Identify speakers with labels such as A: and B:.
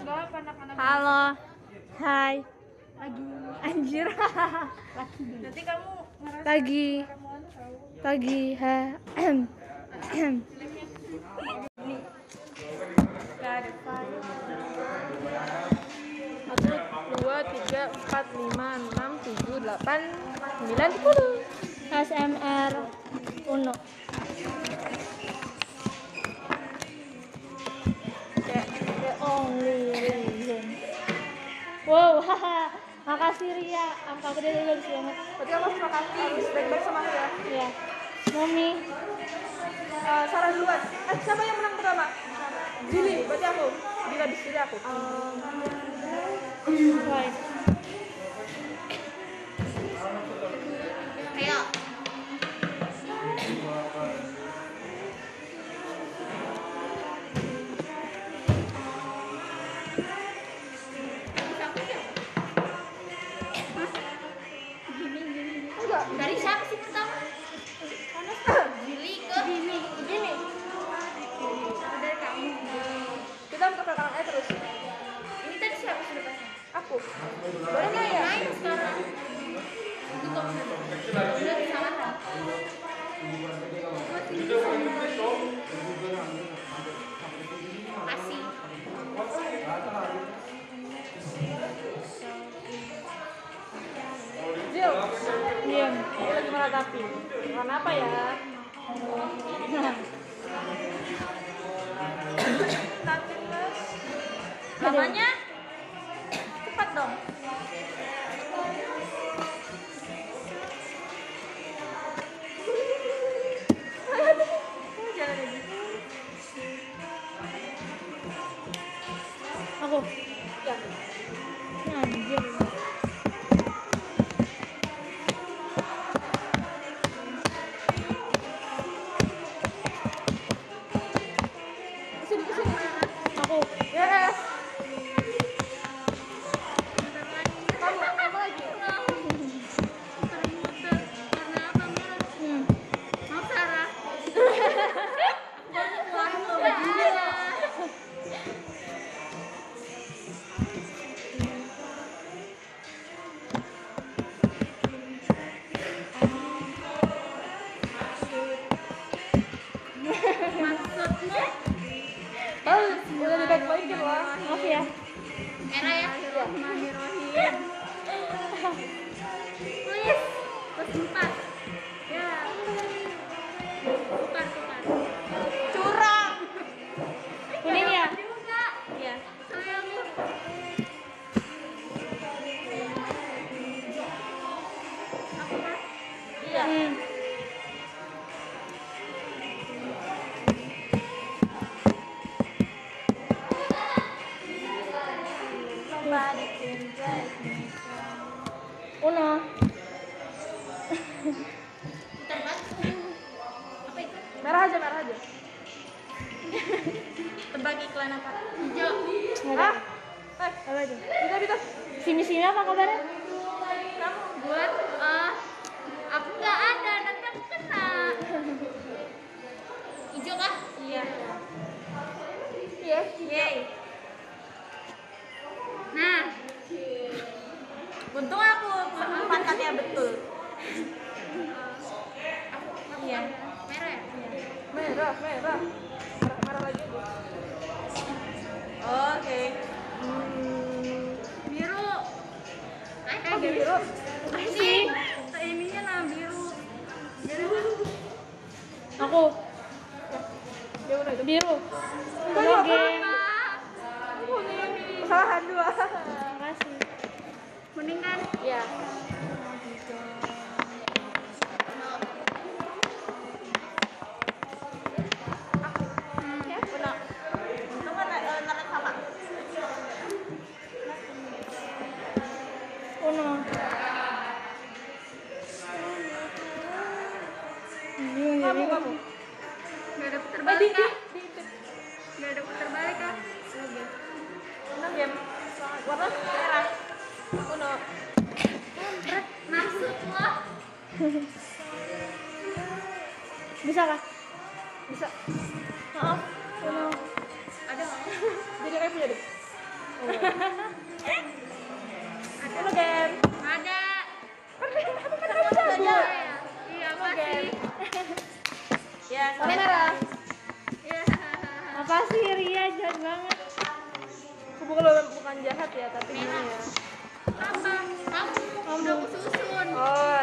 A: Gelap anak-anak.
B: Halo. Hai. Lagi anjir.
A: Nanti kamu ngerasa
B: Lagi
A: kamu anu tahu.
B: lagi ha.
A: Gak ada file. Satu, dua, tiga, empat, lima, enam, tujuh, delapan, sembilan, sepuluh.
B: SMR Uno.
A: Kayak
B: The only reason. Wow, haha. Makasih Ria, angka gede dulu banget.
A: berarti kamu harus makan harus baik-baik sama aku ya.
B: Iya. Mami,
A: Eh, Sarah duluan. Eh, siapa yang menang pertama? Juli, berarti aku. Bila bis Juli aku.
B: why?
A: Ayo.
C: Dari siapa sih pertama? Billy ke? Billy. Billy. Dari kamu.
A: Kita ke belakang aja terus.
C: Ini tadi siapa sudah pas?
A: Aku. Boleh nggak ya?
C: Main sekarang. Itu kamu. Udah di sana kan? Kasih.
A: Jil, diam. Aku Iya. lagi meratapi. Karena apa ya?
C: Namanya?
A: Cepat dong. Jangan ini.
B: Aku.
A: Ya.
B: Anjir.
A: Kesini, kesini.
B: Aku.
A: Yes. Kamu, kamu lagi.
C: Termuter. Karena apa Mer?
B: Hmm.
C: Maaf Sarah. Baru keluar loh. Maksudnya?
A: Oh, udah dibaik-baikin lah.
B: Maaf ya.
C: Era ya. Iya. Bismillahirrahmanirrahim. Please, plus empat. Ya. Tukar, tukar.
A: Curang.
B: Kuning ya?
C: Tadi lu enggak?
A: Iya.
C: Saya lu. Aku kan?
A: Iya.
B: Hmm. Uno.
C: Bentar banget. Apa itu?
A: Merah aja, merah aja.
C: Tebak iklan apa? Hijau.
A: Hah?
B: Nggak
A: Eh,
B: Apa itu?
A: kita kita.
B: Sini sini Ah, apa kabarnya?
C: Kamu buat eh aku nggak ada, nanti aku kena. Hijau kah? Iya.
A: Iya.
C: Yeay. Nah,
A: Untung aku pangkatnya betul.
C: iya. Merah ya?
A: Merah, merah. Merah, merah lagi. Oke.
C: Biru. Eh,
A: Oh, biru.
C: Sih. Ininya nah biru.
B: Aku
A: Ya udah itu.
B: biru.
A: Enggak
B: Uno
A: juga.
B: game.
A: Kuning. Kesalahan dua.
B: Makasih.
C: Kuning kan?
A: Iya. Benar. Untung kan warna sama.
B: Uno. Bingung ya,
A: Kamu,
B: bingung.
A: kamu.
C: Gak ada putar
A: Eh, di,
C: balik
A: di,
C: kah?
A: di, di.
C: Gak ada putar balik kah?
A: Enam ya. Warna merah. Uno.
C: Berat. Maksud lo?
B: Bisa kah?
A: Bisa.
B: Maaf. Uno.
C: Ada nggak? Oh, iya.
A: Jadi kayak punya deh. Halo Gem.
C: Ada.
A: Aku kan kamu jago.
C: Iya, Iya, pasti.
A: Ya,
B: Warna
A: sama.
B: merah.
C: Iya.
B: Apa sih Ria jahat banget?
A: Aku bukan bukan jahat ya, tapi gini ya.
C: Apa? Kamu udah kususun.
A: Oh,
C: Oh,